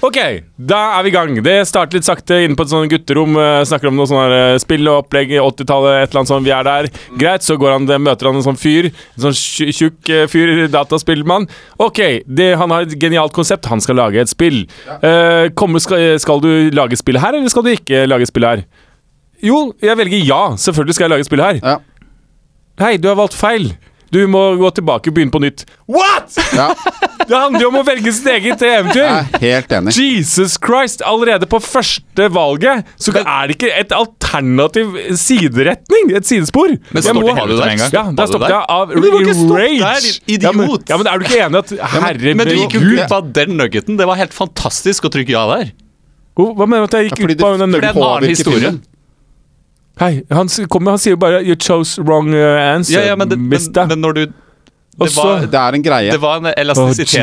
Ok, da er vi i gang. Det starter litt sakte inne på et sånt gutterom. eh, snakker om noe sånn her, eh, spill og opplegg, 80-tallet, et eller annet sånt. Vi er der. Greit, så går han, det- møter han en sånn fyr. En sånn tju- tjukk eh, fyr, dataspillmann. Ok, det, han har et genialt konsept. Han skal lage et spill. Eh, kommer, skal, skal du lage spill her, eller skal du ikke lage spill her? Jo, jeg velger ja. Selvfølgelig skal jeg lage spill her.
Ja.
Hei, du har valgt feil. Du må gå tilbake og begynne på nytt. What?!
ja.
Det handler jo om å velge sitt eget eventyr!
Jeg er helt enig.
Jesus Christ! Allerede på første valget så er det ikke et alternativ sideretning, et sidespor.
Men
Jeg
stoppet
må-
hele du der en gang?
Ja, der
Stoppet du
stoppet
der?
jeg av
Men du må ikke stoppe
rage.
der, din
Ja, men,
idiot.
ja, men er du ikke enig at herre
Men du
min
gikk jo
Gud,
glipp av den nuggeten. Det var helt fantastisk å trykke ja der.
Hvor- Hva mener du at jeg gikk
Ja, fordi
glipp av
det-
den
For det er en
nøkkelen?
annen
påvirker
historie.
filmen.
Hei, han, s- kommer, han sier jo bare 'you chose wrong uh, answer',
Ja, ja, men, det, men,
mister.
men når du
Og
Det var,
så-
Det er en greie.
det var en elastisitet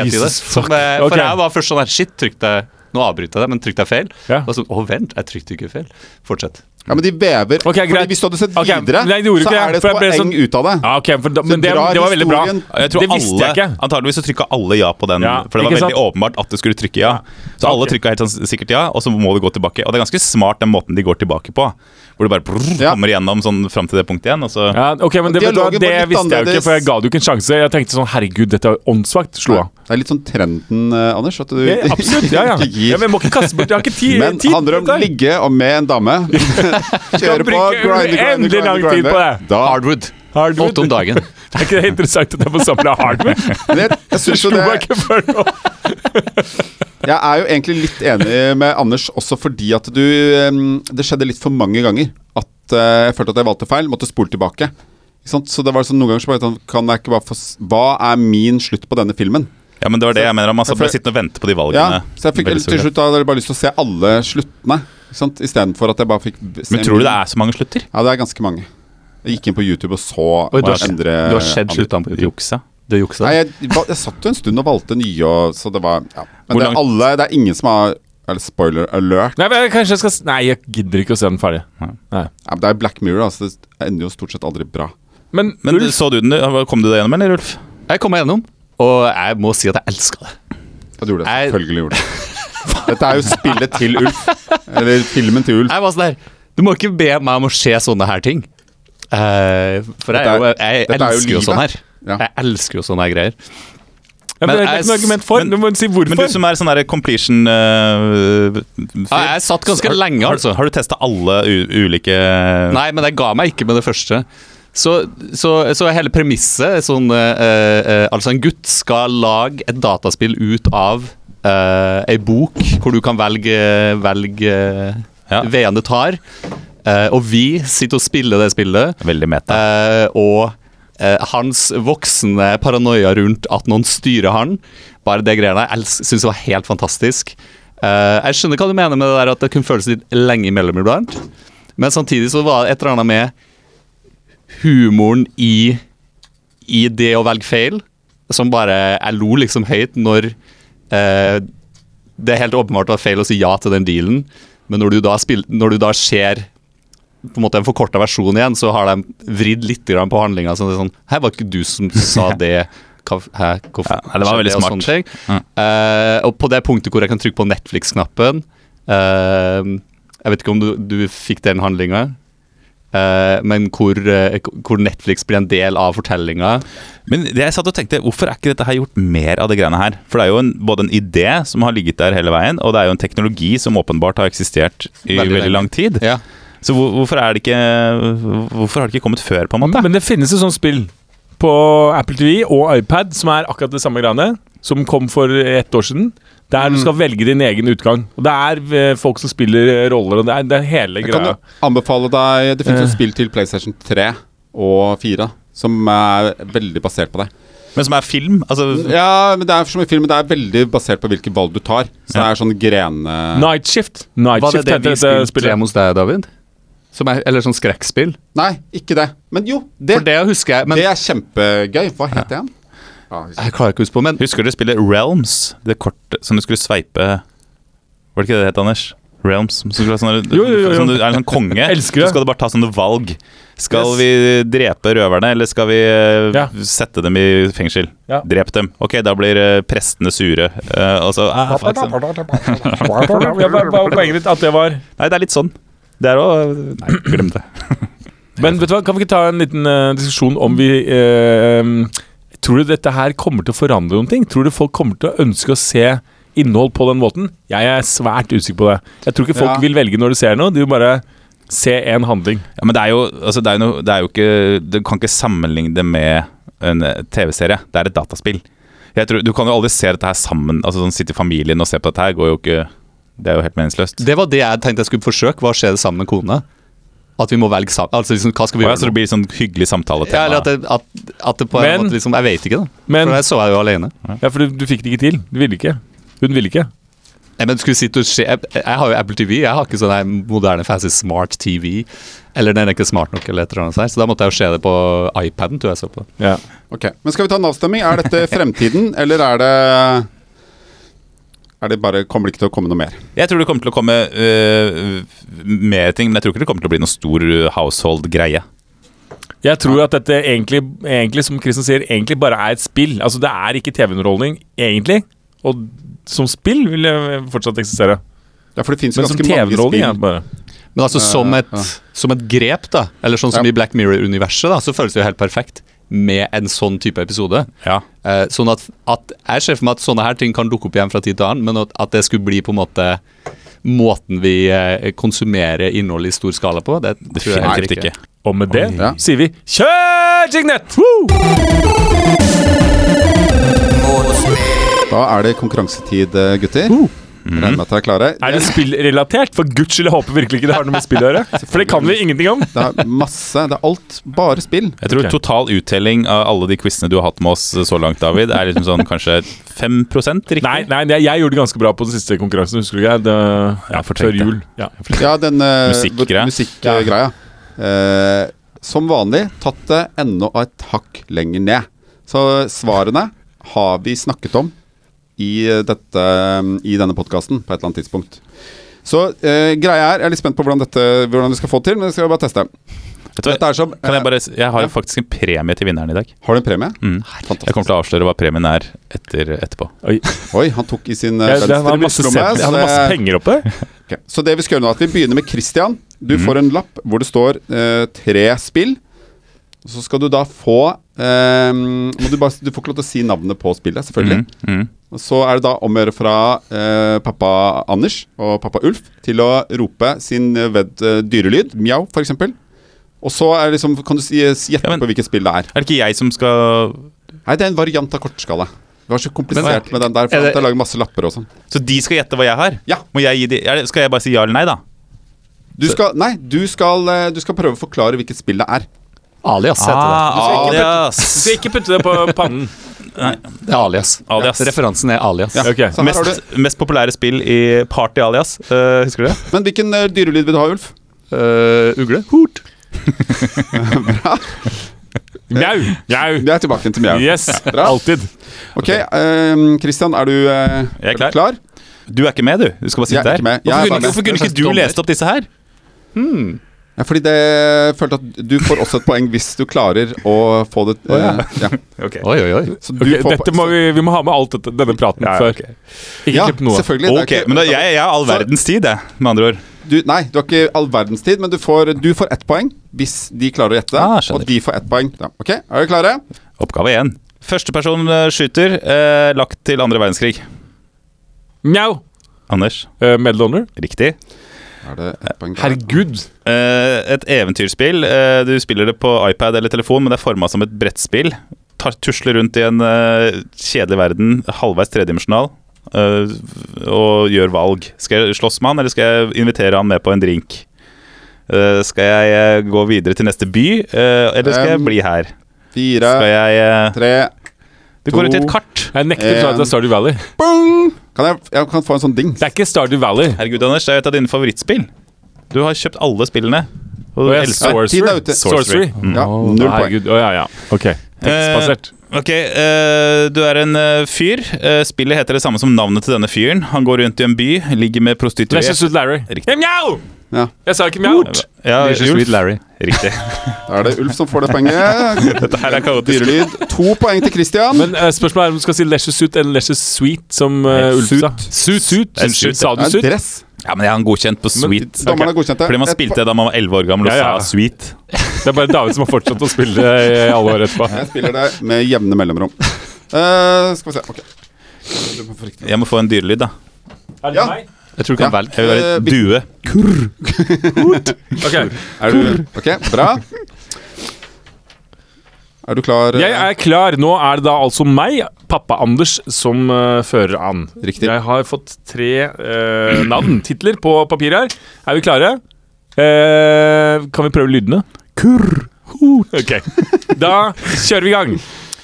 Åh,
i det.
Jesus,
Som,
fuck.
eh, for
Ok.
jeg var først sånn her Shit, trykte jeg Nå avbryter jeg deg, men trykte jeg feil?
Ja.
Og så, Å, vent, jeg trykte ikke feil. Fortsett.
Ja, Men de vever.
Ok,
Fordi
greit.
Hvis du hadde sett
Ok,
videre,
nei, det gjorde
så
ikke jeg,
er det
for
et
jeg ble
poeng
sånn-
ut av det.
ja, ok, for da, men det,
drar
det var veldig bra.
historien-
Jeg tror
Det visste jeg
alle,
ikke.
Antageligvis så trykka alle ja på den,
Ja,
for det var
ikke
veldig
sant?
åpenbart at du skulle trykke ja. Så alle
Ok.
trykka helt sånn sikkert ja, og så må du gå tilbake. Og det er ganske smart den måten de går tilbake på. Hvor du bare brrr,
Ja.
kommer gjennom sånn fram til det punktet igjen, og så
Ja, ok, men det,
Dialogen var litt
det, visste jeg jo ikke,
annerledes.
for jeg ga det jo ikke en sjanse. Jeg tenkte sånn 'herregud, dette er jo åndssvakt'. Slo av.
Det er litt sånn trenden, eh, Anders. At du
Ja, ja, absolutt. Ja, ja.
ikke gir.
ja men jeg må ikke kaste bort Jeg har ikke ti- tid.
Men handler om
på dette.
ligge og med en dame. Kjøre på,
bruke
grinde, grinde,
uendelig lang
grinde.
tid
grinde.
på det.
Da,
Hardwood.
Hardwood.
Åtte om dagen.
Er ikke det interessant at jeg får samla hardwood?
Men jeg, jeg,
Det
synes jo
slo meg
det,
ikke før nå.
jeg er jo egentlig litt enig med Anders, også fordi at du em, Det skjedde litt for mange ganger at eh, jeg følte at jeg valgte feil, måtte spole tilbake. Ikke sant? Så det var sånn noen ganger så bare sånn, kan jeg ikke bare få s- Hva er min slutt på denne filmen?
Ja, men det var det jeg mener om. Altså,
Ja, for-
bare sitte og vente på de valgene.
Ja, så jeg fikk
Veldig
til
stor grad.
slutt da hadde jeg bare lyst til å se alle sluttene, ikke sant? istedenfor at jeg bare fikk b- se
Men tror du
min-
det er så mange slutter?
Ja, det er ganske mange. Jeg gikk inn på YouTube og så
Oi, du
hva
har, skjedd-
andre
du har sett
andre-
sluttene på YouTube.
Juksa.
Du juksa.
Nei, jeg, val- jeg satt jo en stund og valgte nye, og, så det var ja. Men
Hvor
det er,
langt-
alle, det er ingen som har eller spoiler alert.
Nei, men jeg- kanskje jeg skal s- Nei, jeg gidder ikke å se den ferdig. Nei.
Ja, men det er Black Mirror, da, så det ender jo stort sett aldri bra.
Men,
Men
Ulf,
så du den? Kom du deg gjennom, eller, Ulf?
Jeg kom meg gjennom, og jeg må si at jeg elska det.
Ja, du gjorde det.
Nei.
Selvfølgelig gjorde det. Dette er jo spillet til Ulf. Eller filmen til Ulf.
Jeg var sånn der Du må ikke be meg om å se sånne her ting. Eh, for jeg,
Dette er-
er jo- jeg,
dette er jo
elsker jo
livet.
sånne her.
Ja.
Jeg elsker jo sånne her greier.
ja, men det er
men
ikke noe
jeg s-
argument for.
men-
du må si hvorfor.
Men du som er sånn der completion øh,
Ja, jeg satt ganske
har-
lenge, altså.
Har, har du testa alle u ulike
Nei, men jeg ga meg ikke med det første. Så, så, så hele premisset er sånn eh, eh, Altså, en gutt skal lage et dataspill ut av eh, ei bok hvor du kan velge, velge
Ja.
veien det tar. Eh, og vi sitter og spiller det spillet.
Veldig meta.
Eh, og eh, hans voksende paranoia rundt at noen styrer han, bare det greiene der, jeg syns det var helt fantastisk. Eh, jeg skjønner hva du mener med det der at det kunne føles litt lenge imellom iblant, men samtidig så var det et eller annet med humoren i, i det å velge feil, som bare Jeg lo liksom høyt når eh, det er helt åpenbart var feil å si ja til den dealen, men når du da, spill, når du da ser på en måte en forkorta versjon igjen, så har de vridd litt grann på handlinga. Sånn, det er sånn Hei, var ikke du som sa det? Hva, hæ, hvorfor
Ja, det var
skjedde
veldig
og
smart.
sånne ting?» Eh, og på det punktet hvor jeg kan trykke på Netflix-knappen eh, Jeg vet ikke om du, du fikk den handlinga, eh, men hvor, eh, hvor Netflix blir en del av fortellinga.
Men det jeg satt og tenkte, hvorfor er ikke dette her gjort mer av det greiene her? For det er jo en, både en idé som har ligget der hele veien, og det er jo en teknologi som åpenbart har eksistert i
Veldig
veldig,
lenge.
lang tid.
Ja.
Så hvor, hvorfor, er det ikke, hvorfor har det ikke kommet før, på en måte?
Men det finnes et sånt spill på Apple TV og iPad som er akkurat det samme greiene, som kom for ett år siden. Der du skal velge din egen utgang. Og det er eh, folk som spiller eh, roller, og det er, det er hele
Jeg kan
greia.
jo anbefale deg Det finnes et spill til PlayStation 3 og 4 som er veldig basert på det.
Men som er film? Altså,
Ja, men Det er som i filmen, det er veldig basert på hvilke valg du tar. Så det er sånn grene...
Night Shift. Night
Var det
Shift
det
heter
vi
dette
spilte
spillet.
hos deg, David? Som er, eller sånn skrekkspill?
Nei, ikke det. Men jo, det,
For det husker jeg, men
det er kjempegøy. Hva het det igjen? Ah, Ja,
jeg klarer ikke å huske på men
Husker du spillet Realms? Det kortet som du skulle sveipe Var det ikke det det het, Anders? Realms? Som skulle være sånn,
Jo, jo, jo, jo.
Som du er en sånn konge.
Elsker det.
Så skal du bare ta sånne valg. Skal
Yes.
vi drepe røverne, eller skal vi eh,
Ja.
sette dem i fengsel?
Ja.
Drep dem. Ok, da blir eh, prestene sure. Eh, og så, ah, fuck them.
Ja, hva- hva var poenget ditt at det var
Nei, det er litt sånn. Det er òg Nei, glem det.
Men vet du hva, kan vi ikke ta en liten eh, diskusjon om vi eh, Tror du dette her kommer til å forandre noen ting? Tror du folk kommer til å ønske å se innhold på den måten? Jeg er svært usikker på det. Jeg tror ikke folk
Ja.
vil velge når de ser noe. De vil bare se en handling.
Ja, men det er jo, altså, det er jo, noe, det er jo ikke Du kan ikke sammenligne det med en eh, TV-serie. Det er et dataspill. Jeg tror, du kan jo aldri se dette her sammen. Altså sånn Sitte i familien og se på dette her går jo ikke Det er jo helt meningsløst.
det var det jeg tenkte jeg skulle forsøke. Hva skjer det sammen med kona? At vi må velge sammen. Altså, liksom, hva skal
Og
vi
ja,
gjøre
så
nå?
det blir sånn hyggelig samtaletema.
Ja, eller at det, at, at det på en
Men-
måte liksom Jeg vet ikke, da.
Men-
For jeg så jeg jo alene.
Ja, for du, du fikk det ikke til. Du ville ikke. Hun ville ikke.
Nei, men skulle sitte og se jeg, jeg har jo Apple TV. Jeg har ikke sånn her moderne, fancy smart TV. Eller den er ikke smart nok, eller et eller annet sånt. Så da måtte jeg jo se det på iPaden, tror jeg så på.
Ja.
Ok, Men skal vi ta en avstemning? Er dette fremtiden, eller er det Er det bare Kommer det ikke til å komme noe mer?
Jeg tror det kommer til å komme øh, mer ting, men jeg tror ikke det kommer til å bli noen stor øh, household-greie.
Jeg tror at dette egentlig, egentlig, som Kristian sier, egentlig bare er et spill. Altså, det er ikke TV-underholdning, egentlig. Og som spill vil det fortsatt eksistere.
Ja, for det finnes jo
Men som
ganske mange
TV-underholdning er
spill.
det bare
Men altså som et,
ja.
som et grep, da. Eller sånn
Ja.
som i Black Mirror-universet, da. Så føles det jo helt perfekt med en sånn type episode.
Ja.
Eh, sånn at, at Jeg ser for meg at sånne her ting kan dukke opp igjen fra tid til annen, men at, at det skulle bli på en måte Måten vi eh, konsumerer innhold i stor skala på, det tror jeg
Definitivt
heller
ikke.
ikke.
Og med det
Ja.
sier vi kjør Jignett! Woo!
Da er det konkurransetid, eh, gutter. Regner med at dere er klare.
Uh. Er det spillrelatert? For guds skyld, jeg håper virkelig ikke det har noe med spill å gjøre. For det kan vi ingenting om.
Det er masse Det er alt bare spill.
Jeg tror
Ok.
total uttelling av alle de quizene du har hatt med oss eh, så langt, David, er liksom sånn kanskje 5 riktig.
Nei, nei, jeg, jeg gjorde det ganske bra på den siste konkurransen, husker du ikke? Det,
Ja, fortrengte.
før jul. Ja.
Ja, den eh,
Musikkgreia.
musikkgreia. Eh, som vanlig tatt det enda et hakk lenger ned. Så svarene har vi snakket om i, eh, dette, i denne podkasten på et eller annet tidspunkt. Så eh, greia er Jeg er litt spent på hvordan, dette, hvordan vi skal få til, men det skal vi bare teste.
Vet du hva,
Dette er som,
kan jeg, bare, s- jeg
ja.
har jo faktisk en premie til vinneren i dag.
Har du en premie?
Mm. Jeg kommer til å avsløre hva premien er etter, etterpå.
Oi.
Oi, han tok i sin eh,
Jeg,
venstre
den har masse,
brystlomme,
sedler-
så
han har masse
det-
penger oppe.
Ok, Så det vi skal gjøre nå er at vi begynner med Christian. Du får en lapp hvor det står eh, tre spill. Og Så skal du da få eh, må du, bare, du får ikke lov til å si navnet på spillet, selvfølgelig.
Mm.
Og Så er det da om å gjøre fra eh, pappa eh, Anders og pappa Ulf til å rope sin ved, eh, dyrelyd, mjau f.eks. Og så er liksom, kan du si, gjette
Ja, men-
på hvilket spill det er.
Er det ikke jeg som skal
Nei, det er en variant av kortskala. Det var så komplisert
Men-
med den der, for
Er det-
at jeg lager masse lapper og sånn.
Så de skal gjette hva jeg har?
Ja.
Må jeg gi de, er det, skal jeg bare si ja eller nei, da?
Du skal, nei, du skal, eh, du skal prøve å forklare hvilket spill det er.
Alias heter
Ah.
skal ikke
alias.
Du skal ikke putte det på pannen.
det. det. er Alias.
Alias.
Referansen er alias.
Ja.
Ok.
Så her har
Mest,
du,
mest populære spill i Party Alias. Eh, husker du det?
men hvilken eh, dyrelyd vil du ha, Ulf?
Eh, ugle. Hort.
Mjau! Mjau!
Vi er tilbake til mjau.
Yes.
Bra.
Alltid.
Ok, eh, Christian, er du, eh, er
Jeg er
du
klar.
klar?
Du er ikke med, du. Du skal bare sitte
Jeg er
der.
ikke med. Jeg er
Hvorfor,
bare
kunne,
med.
hvorfor kunne
Jeg er
ikke du
dommer.
lest opp disse her?
Ja, fordi det jeg følte at du får også et poeng hvis du klarer å få det eh, ja.
Oi, oi, oi.
Så
Ok,
du får
dette må vi, vi må ha med alt dette, denne praten
Ja,
før.
ok.
Ikke
Ja,
klipp noe.
selvfølgelig. det er
Ok,
ikke-
men da, jeg, jeg har all verdens tid, jeg, med andre ord.
Du, nei, du har ikke all verdens tid, men du får, du får ett poeng hvis de klarer å gjette.
Ah, skjønner.
og de får ett poeng. Ja, ok, Er dere klare?
Oppgave én. Førsteperson eh, skyter, eh, lagt til andre verdenskrig.
Mjau!
Anders.
Eh, Medal Honor.
Riktig.
Er det ett poeng?
Herregud.
Eh, et eventyrspill. Eh, du spiller det på iPad eller telefon, men det er forma som et brettspill. Tar, tusler rundt i en eh, kjedelig verden, halvveis tredimensjonal, eh, og gjør valg. Skal jeg slåss med han, eller skal jeg invitere han med på en drink? Eh, skal jeg eh, gå videre til neste by, eh, eller skal jeg
Um,
bli her?
Fire,
Skal jeg eh,
tre
Det går ut i
to.
et kart.
Jeg nekter å tro at det er Stardew Valley.
Bong! Kan jeg, jeg kan få en sånn ding?
Det er ikke Stardew Valley.
Herregud, Anders, det er jo et av dine favorittspill. Du har kjøpt alle spillene. Og
Og
du
jeg
elsker
Nei, tiden er ute.
Sorcery. Mm.
Mm.
Ja,
Å,
null poeng.
herregud. Å, ja, ja. Ok. Tekstbasert.
Ok, eh, du er en eh, fyr. Eh, spillet heter det samme som navnet til denne fyren. Han går rundt i en by, ligger med prostituerte
Lashes with Larry.
Riktig.
Eh, Mjau!
Ja,
Jeg sa ikke mjau.
Ja,
This is
Ulf.
Sweet Larry.
Riktig.
Da er det Ulf som får det poenget.
Dette her er kaotisk.
Dyrelyd. To poeng til Christian.
Men eh, spørsmålet er om du skal si Lashes Suit eller Lashes Sweet, som eh, Ulf sa. Suit.
Det er en suit.
Sa du
det er
suit?
dress.
Ja, men jeg er han godkjent på sweet.
Dommerne har godkjent det.
Fordi man
Et
spilte
po-
det da man var 11 år gammel og
Ja, ja.
sa sweet.
Det er bare David som har fortsatt å spille i alle år etterpå.
Jeg spiller det med jevne mellomrom. Eh, skal vi se. Ok. Du må få riktig.
Jeg må få en dyrelyd, da.
Er
Ja.
meg?
Jeg tror du kan
Ja.
velge.
Jeg vil være
Eh,
en
vi-
due.
Ok.
Er du Ok, bra. Er du klar? eh,
Jeg er klar. Nå er det da altså meg, pappa Anders, som eh, fører an.
Riktig.
Jeg har fått tre eh, navn, titler, på papiret her. Er vi klare? Eh, kan vi prøve lydene? Kurr. Ok. Da kjører vi i gang.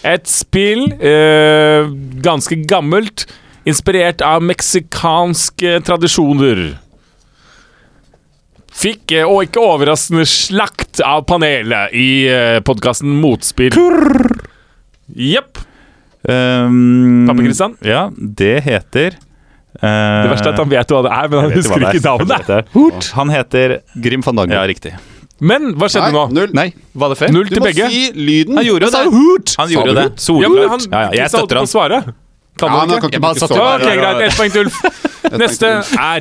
Et spill, eh, ganske gammelt, inspirert av meksikanske tradisjoner. Fikk, eh, og ikke overraskende, slakt av panelet i eh, podkasten Motspill. Jepp.
Um,
Pappa Kristian?
Ja, det heter eh,
Det verste er at han vet jo hva det er, men han husker ikke navnet.
Han heter
Grim van Dango.
Ja, riktig.
Men hva skjedde
Nei,
nå?
null.
Nei, var det feil?
Null
Du
til
må
begge.
si lyden.
Han gjorde jo det. Han
Sa
gjorde
du
det.
hurt?
Ja, men han,
Solklart. Ja, ja, jeg
Kristian holdt
støtter
på
han.
å svare.
Ja,
Kan han
nå
ikke?
kan ikke
Jeg bare
du
satt-
stå
Ja,
der.
ok, greit. Ett poeng til Ulf.
Jeg
Neste
tenkte-
er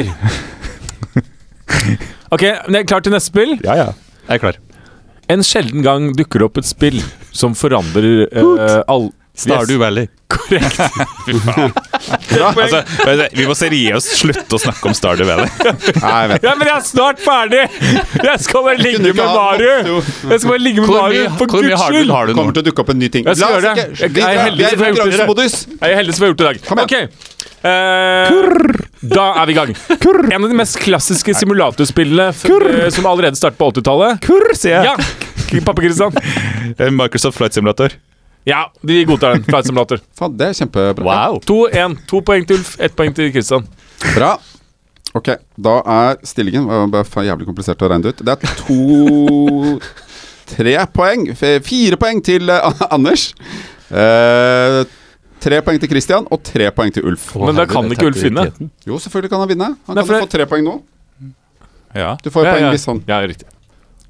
Ok, men jeg er klar til neste spill.
Ja, ja.
Jeg er klar.
En sjelden gang dukker det opp et spill som forandrer uh, all...
Stardew Valley.
Korrekt.
Altså, vet du, vi må seriøst slutte å snakke om Stardew Valley.
Nei, jeg vet.
Ja, men jeg er snart ferdig! Jeg skal bare ligge
Kunne
med
ikke ha-
Mario!
Jo,
Jeg skal bare ligge med
Hvor
Mario,
mye,
for
hvor mye
guds
hardwood
skyld!
har du nå?
Kommer til å dukke opp en ny ting.
Jeg skal
La oss
gjøre det.
ikke-
Jeg-
Vi
jeg er heldig
vi er i
for jeg har gjort det.
konkurransemodus.
Jeg er heldig som har gjort det i dag.
Kom igjen.
Ok. Eh, da er vi i gang. En av de mest klassiske simulatorspillene f eh, som allerede startet på 80-tallet.
Kurr, sier Eh,
Ja. Pappa Kristian.
Microsoft Flight Simulator.
Ja, de godtar den. Flight Simulator.
Faen, det er kjempebra.
Wow.
2-1. To poeng til Ulf, ett poeng til Kristian.
Bra. Ok, da er stillingen Det var bare faen jævlig komplisert å regne det ut. Det er to Tre poeng. f- Fire poeng til eh, Anders. Eh, tre poeng til Christian og tre poeng til Ulf.
Men da kan ikke Ulf vinne.
Jo, selvfølgelig kan han vinne. Han
Nei,
kan
for
jo få tre poeng nå.
Ja.
Du får et
Ja,
poeng
ja.
hvis han
Ja, riktig.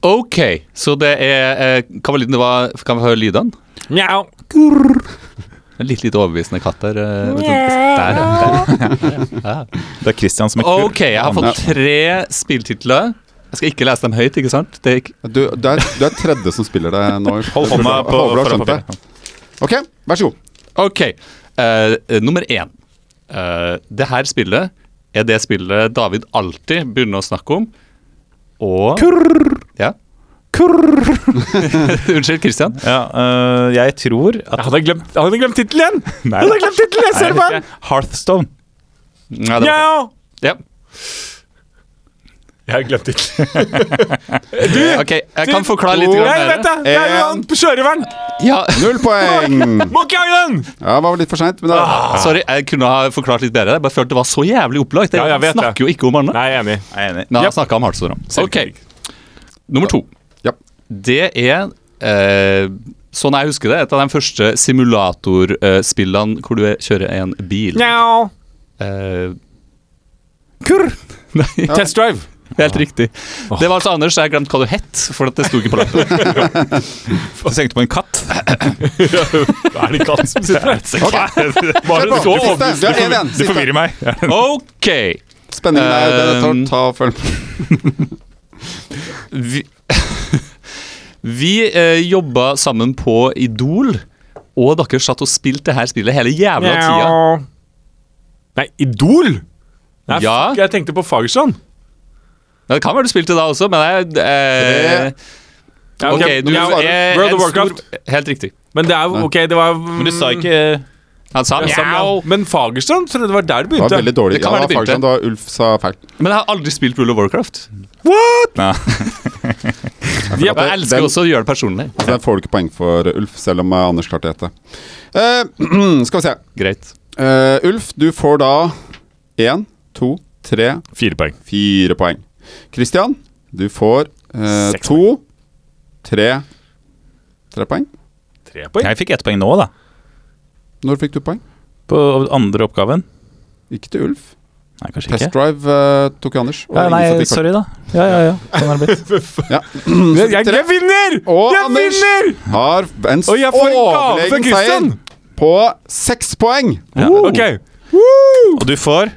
Ok, så det er eh, Hva var lyden det var? Kan vi høre lydene?
Mjau.
En litt lite overbevisende katt der. eh, vet du.
sånn-
Der, ja, der. ja. Ja.
Det er Christian som er kurr.
Ok, jeg har fått tre spilltitler. Jeg skal ikke lese dem høyt, ikke sant? Det er ikke
Du, du, er, du er tredje som spiller det nå. Ulf.
Hold
Jeg
hånda
håper-
på
håper du har skjønt
foran
det. Ok, vær så god.
Ok, eh, nummer én. Eh, det her spillet er det spillet David alltid begynner å snakke om. Og Kurr! Ja. Unnskyld, Christian.
Ja, øh, jeg tror
Jeg
at
hadde glemt, jeg hadde glemt tittelen igjen! Jeg hadde glemt tittelen, jeg ser det på den!
Hearthstone.
Nei, det var
Ja!
det. Ja.
Jeg har glemt tittelen. Oh.
Ok, jeg kan forklare litt
Jeg
grann
vet det! Det er jo han på sjørøveren!
Ja,
Null poeng!
Monkey Island!
Ja, var vel litt for seint, men da
Ah, sorry, jeg kunne ha forklart litt bedre. Jeg bare følte det var så jævlig opplagt. Jeg,
Ja, jeg vet det.
snakker jo ikke om annet.
Nei, jeg er enig.
Jeg er enig.
Men
Japp.
han snakka om Heartstone.
Selvkritikk.
Nummer to.
Ja.
Det er eh, Sånn jeg husker det, et av de første simulatorspillene eh, hvor du er- kjører en bil.
Njau.
Eh, kurr! Nei,
Test Drive.
helt riktig. Det var altså Anders, jeg har glemt hva du het. For at det sto ikke på lappen.
Jeg tenkte på en katt.
Er det katt som sitter der?
Kjør på! Du fikk det. Du har én igjen.
Du
Siste.
forvirrer meg.
OK!
Spenningen er jo det. Ta, ta, følg med.
Vi, vi eh, jobba sammen på Idol, og dere satt og spilte det her spillet hele jævla tida.
Njau. Nei, Idol? Nei,
Ja.
fuck, jeg tenkte på Fagerstrand.
Ja, det kan være du spilte da også, men jeg
Ja,
eh, Ok,
ok,
du
njau. World
er
of
en stor-
Warcraft.
Helt riktig. Mm.
Men det er jo OK, det var
Men du sa ikke
Han sa
Jeg sa
mjau.
mjau. Men Fagerstrand trodde jeg det var der det
Det var veldig
begynte.
dårlig.
Det kan
Ja,
være
det
det
var
begynte.
faktisk da Ulf sa feil.
Men jeg har aldri spilt World of Warcraft.
What?
Nei.
Jeg
det-
elsker
den-
også å gjøre det personlig.
Så der Altså, får du ikke poeng for uh, Ulf, selv om uh, Anders klarte å gjette. Eh, skal vi se.
Greit.
Eh, Ulf, du får da én, to, tre,
Fire poeng.
fire poeng. Christian, du får eh,
Seks
to, tre Tre poeng.
Tre poeng?
Jeg fikk ett poeng nå, da.
Når fikk du poeng?
På andre oppgaven.
Ikke til Ulf.
Nei, kanskje
Test
ikke.
drive eh, tok jo Anders. og
Ja, nei,
ingen som fikk poeng.
sorry, da. Ja, ja, ja. Sånn er det blitt.
Ja.
Jeg, jeg, jeg vinner!
Og
jeg
Anders
vinner!
har en
Og jeg får en gave fra
overlegen seier
Christian!
på seks poeng.
Ja.
OK.
Og du får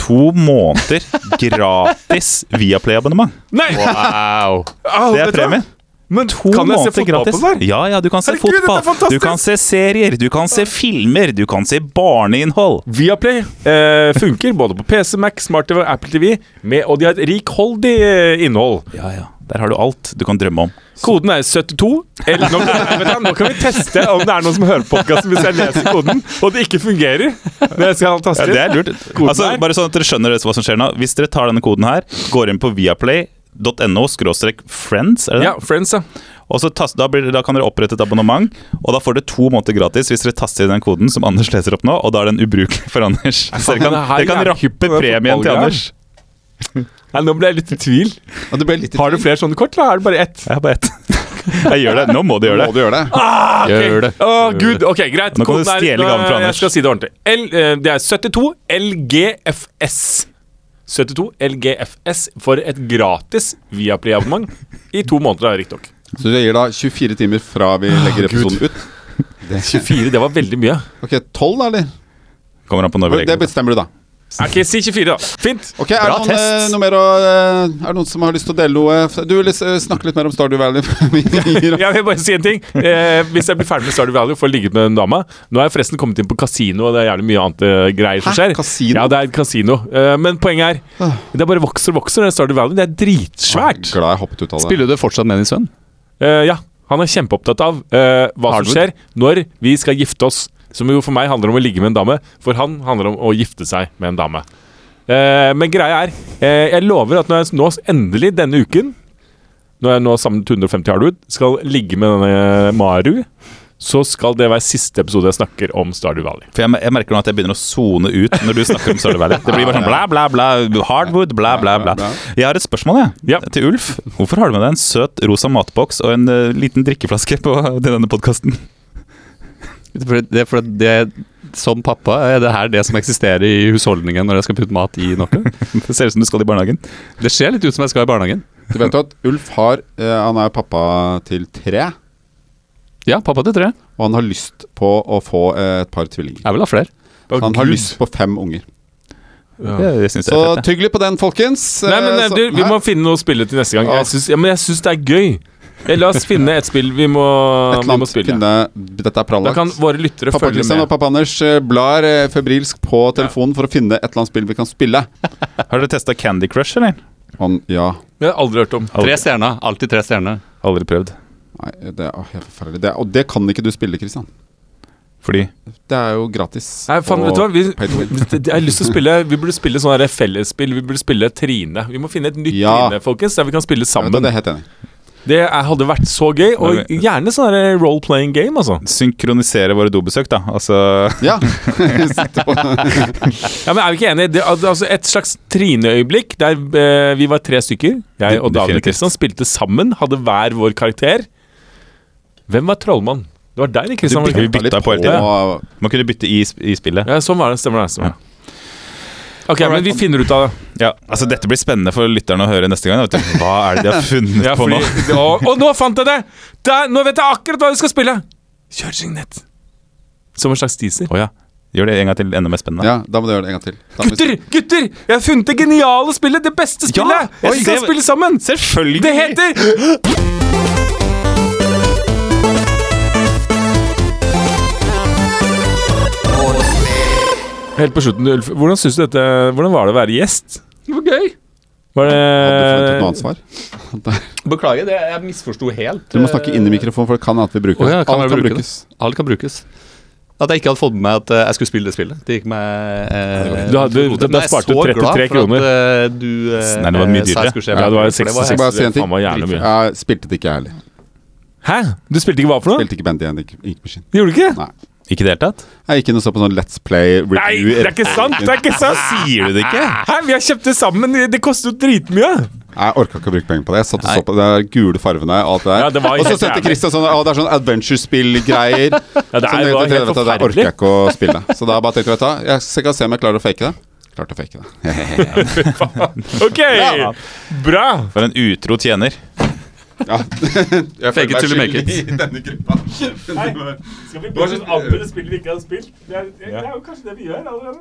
to måneder gratis Viaplay-abonnement.
Nei!
Wow.
Au, vet
Det er
du hva?
premien.
Men
To
kan jeg se
måneder
fotball
gratis.
på den der?
Ja, ja, du kan se
Herregud, dette er
fotball. Du
fantastisk!
kan se serier, du kan se filmer, du kan se barneinnhold.
Viaplay eh, funker både på PC, Mac, Smart-TV og Apple TV, med, og de har et rikholdig eh, innhold.
Ja, ja. Der har du alt du kan drømme om.
Koden er 72. Eller, nå, vet du, nå kan vi teste om det er noen som hører podkasten hvis jeg leser koden, og det ikke fungerer. Når jeg skal taste
Ja, det er lurt.
Koden
Altså,
her.
bare sånn at dere skjønner hva som skjer nå. Hvis dere tar denne koden her, går inn på viaplay.no skråstrek friends, er det
Ja,
det?
Friends, ja.
Og så tas- da, blir, da kan dere opprette et abonnement, og da får dere to måneder gratis hvis dere taster inn den koden som Anders leser opp nå, og da er den ubrukelig for Anders. Så dere kan,
det her
dere kan
er hypp på
rappe
den
premien til
fotballgreia.
Anders.
Nei, nå ble jeg litt i tvil.
Og det ble litt
Har du flere sånne kort, eller er det bare ett?
Jeg har bare ett. Jeg gjør det. Nå må du gjøre
Må
det.
du gjøre det?
Ah,
Gjør det.
Å, gud. Ok, greit.
Nå kan du
Koden er-
stjele
nå-
gaven fra
Jeg
Anders.
skal si det ordentlig. L, eh, det er 72 LGFS. 72 LGFS for et gratis Viaplay-abonnement i to måneder, riktignok.
Så du gir da 24 timer fra vi legger episoden ut.
24, det var veldig mye.
Ok, 12 da, eller?
Kommer an på når vi
Det
legger det.
bestemmer du, da.
Ok, si 24, da. Fint.
Ok, er det,
Bra
noen,
test.
eh, noe mer å, eh, er det noen som har lyst til å dele noe? F- Du vil eh, snakke litt mer om Stardew Valley. ja.
Jeg vil bare si en ting. Eh, hvis jeg blir ferdig med Stardew Valley og får ligget med den dama Nå har jeg forresten kommet inn på kasino, og det er jævlig mye annet eh, greier som
Hæ?
skjer.
Kasino? Ah.
Ja, det er et kasino. Eh, men poenget er Det er bare vokser og vokser, det Stardew Valley. Det er dritsvært.
Glad jeg hoppet ut av det.
Spiller du det fortsatt med din sønn?
Eh, ja, han er kjempeopptatt av eh, hva
Har
som
du
skjer når vi skal gifte oss. Som jo for meg handler om å ligge med en dame, for han handler om å gifte seg med en dame. Eh, men greia er, eh, jeg lover at når jeg nå endelig denne uken, når jeg nå samlet 150 hardwood, skal ligge med denne eh, Maru, så skal det være siste episode jeg snakker om Stardew Valley.
For jeg, mer- jeg merker nå at jeg begynner å sone ut når du snakker om Stardew Valley. Det blir bare sånn bla, bla, bla. Hardwood, bla, bla, bla. Jeg har et spørsmål jeg,
Ja.
til Ulf. Hvorfor har du med deg en søt rosa matboks og en eh, liten drikkeflaske på, til denne podkasten?
For det, for det, som pappa er det her det som eksisterer i husholdningen når jeg skal putte mat i noe.
Det ser ut som du skal i barnehagen.
Det ser litt ut som jeg skal i barnehagen.
Du vet jo at Ulf har, eh, han er pappa til tre,
Ja, pappa til tre.
og han har lyst på å få eh, et par tvillinger.
Jeg vil ha flere.
Så han har lyst på fem unger.
Det, det synes jeg
Så
er fett.
tygg litt på den, folkens.
Nei, men
Eh,
eh,
så-
du, Vi
Hæ?
må finne noe å spille til neste gang.
Ah.
Jeg syns, ja, men jeg syns det er gøy. Eh, La oss finne et spill vi må,
et eller
vi må
annet
spille.
finne Dette er
Da kan
planlagt.
våre lyttere
Pappa
følge
Christian og
med.
pappa Anders eh, blar eh, febrilsk på telefonen for å finne et eller annet spill vi kan spille.
Har dere testa Candy Crush, eller?
Han, ja
Jeg har aldri hørt om.
Aldri.
Tre stjerner. Alltid tre stjerner.
Aldri prøvd.
Nei, det er åh, helt forferdelig. Det er, og det kan ikke du spille, Christian.
Fordi
Det er jo gratis.
Nei, faen,
og
vet du hva? Vi,
pay to win.
det- det- jeg har lyst til å spille Vi burde spille sånn her fellesspill. Vi burde spille Trine. Vi må finne et nytt
Ja.
Trine, folkens, der vi kan spille
Ja, men det er
sammen.
jeg helt enig. i.
Det er- hadde vært så gøy. Og
Det er-
gjerne sånn her role-playing game, altså.
synkronisere våre dobesøk, da. Altså
Ja. Sitte på
Ja, men er vi ikke enige? Det, al- altså et slags trineøyeblikk der eh, vi var tre stykker. Jeg og David og
Definitivt.
Kristian spilte sammen, hadde hver vår karakter. Hvem var trollmann? Det var deg, Kristian.
bytta- vi bytta på hele tiden. Man kunne bytte i, sp- i spillet.
Ja, sånn var det. Stemmer det. Stemmer. det. Ok, men vi finner ut av det.
Ja, altså Dette blir spennende for lytterne å høre neste gang. Vet du. Hva er det de har funnet
Ja,
på
fordi,
nå?
å, å, nå fant jeg det! Der, nå vet jeg akkurat hva vi skal spille! Kjør signett. Som en slags teaser.
Å ja. Gjør det en gang til enda mer spennende.
Ja, da må du gjøre det en gang til. Da må vi-
Gutter, gutter! Jeg har funnet det geniale spillet! Det beste spillet!
oi,
jeg skal
det-
spille sammen!
Selvfølgelig!
Det heter Helt på slutten, Ulf. Hvordan, synes du dette, hvordan var det å være gjest? Det var gøy. Var det
Hadde du forventet noe annet svar?
Beklager, det, jeg misforsto helt.
Du må snakke inn i mikrofonen, for det kan at vi bruker
Å ja, kan
Alt
jeg bruke det? Alt kan brukes. At jeg ikke hadde fått med meg at eh, jeg skulle spille det spillet. Det gikk meg eh,
Du hadde-
Men jeg er
da sparte du
så
33
glad for at,
kroner.
eh, du eh,
Nei, det var mye
sa
dyrere.
jeg skulle skje
Ja, det var
for
Jeg skal
helt-
bare si en ting.
Faen, var jævlig mye.
Jeg spilte det ikke, jeg heller.
Hæ? Du spilte ikke hva for noe?
Spilte ikke Bendy and Ink Ink Machine.
Gjorde du ikke?
Nei.
Ikke i det hele tatt?
Jeg gikk inn og så på sånn Let's Play review.
Nei, det er ikke sant! Det er ikke sant!
Sier du det ikke?
Hæ, vi har kjøpt det sammen! Det kostet jo dritmye!
Jeg orka ikke å bruke penger på det. Jeg satt og så på de der gule farvene og alt det der.
Ja, det var
og så
helt
sendte
jævlig.
Christian sånn Å, det er sånn adventure-spill-greier.
Ja, det
Sånn,
er-
jeg
var
tenkte, vet du,
helt
det orker
forferdelig.
jeg ikke å spille. Så da bare tenkte jeg, vet du hva, jeg skal se om jeg klarer å fake det. Klarte å fake det.
Ok, bra!
For en utro tjener.
Ja. Jeg
Fake it till you make it.
i denne gruppa.
Skal vi bare anmelde spill vi ikke har spilt? Det er, jo kanskje det vi gjør allerede.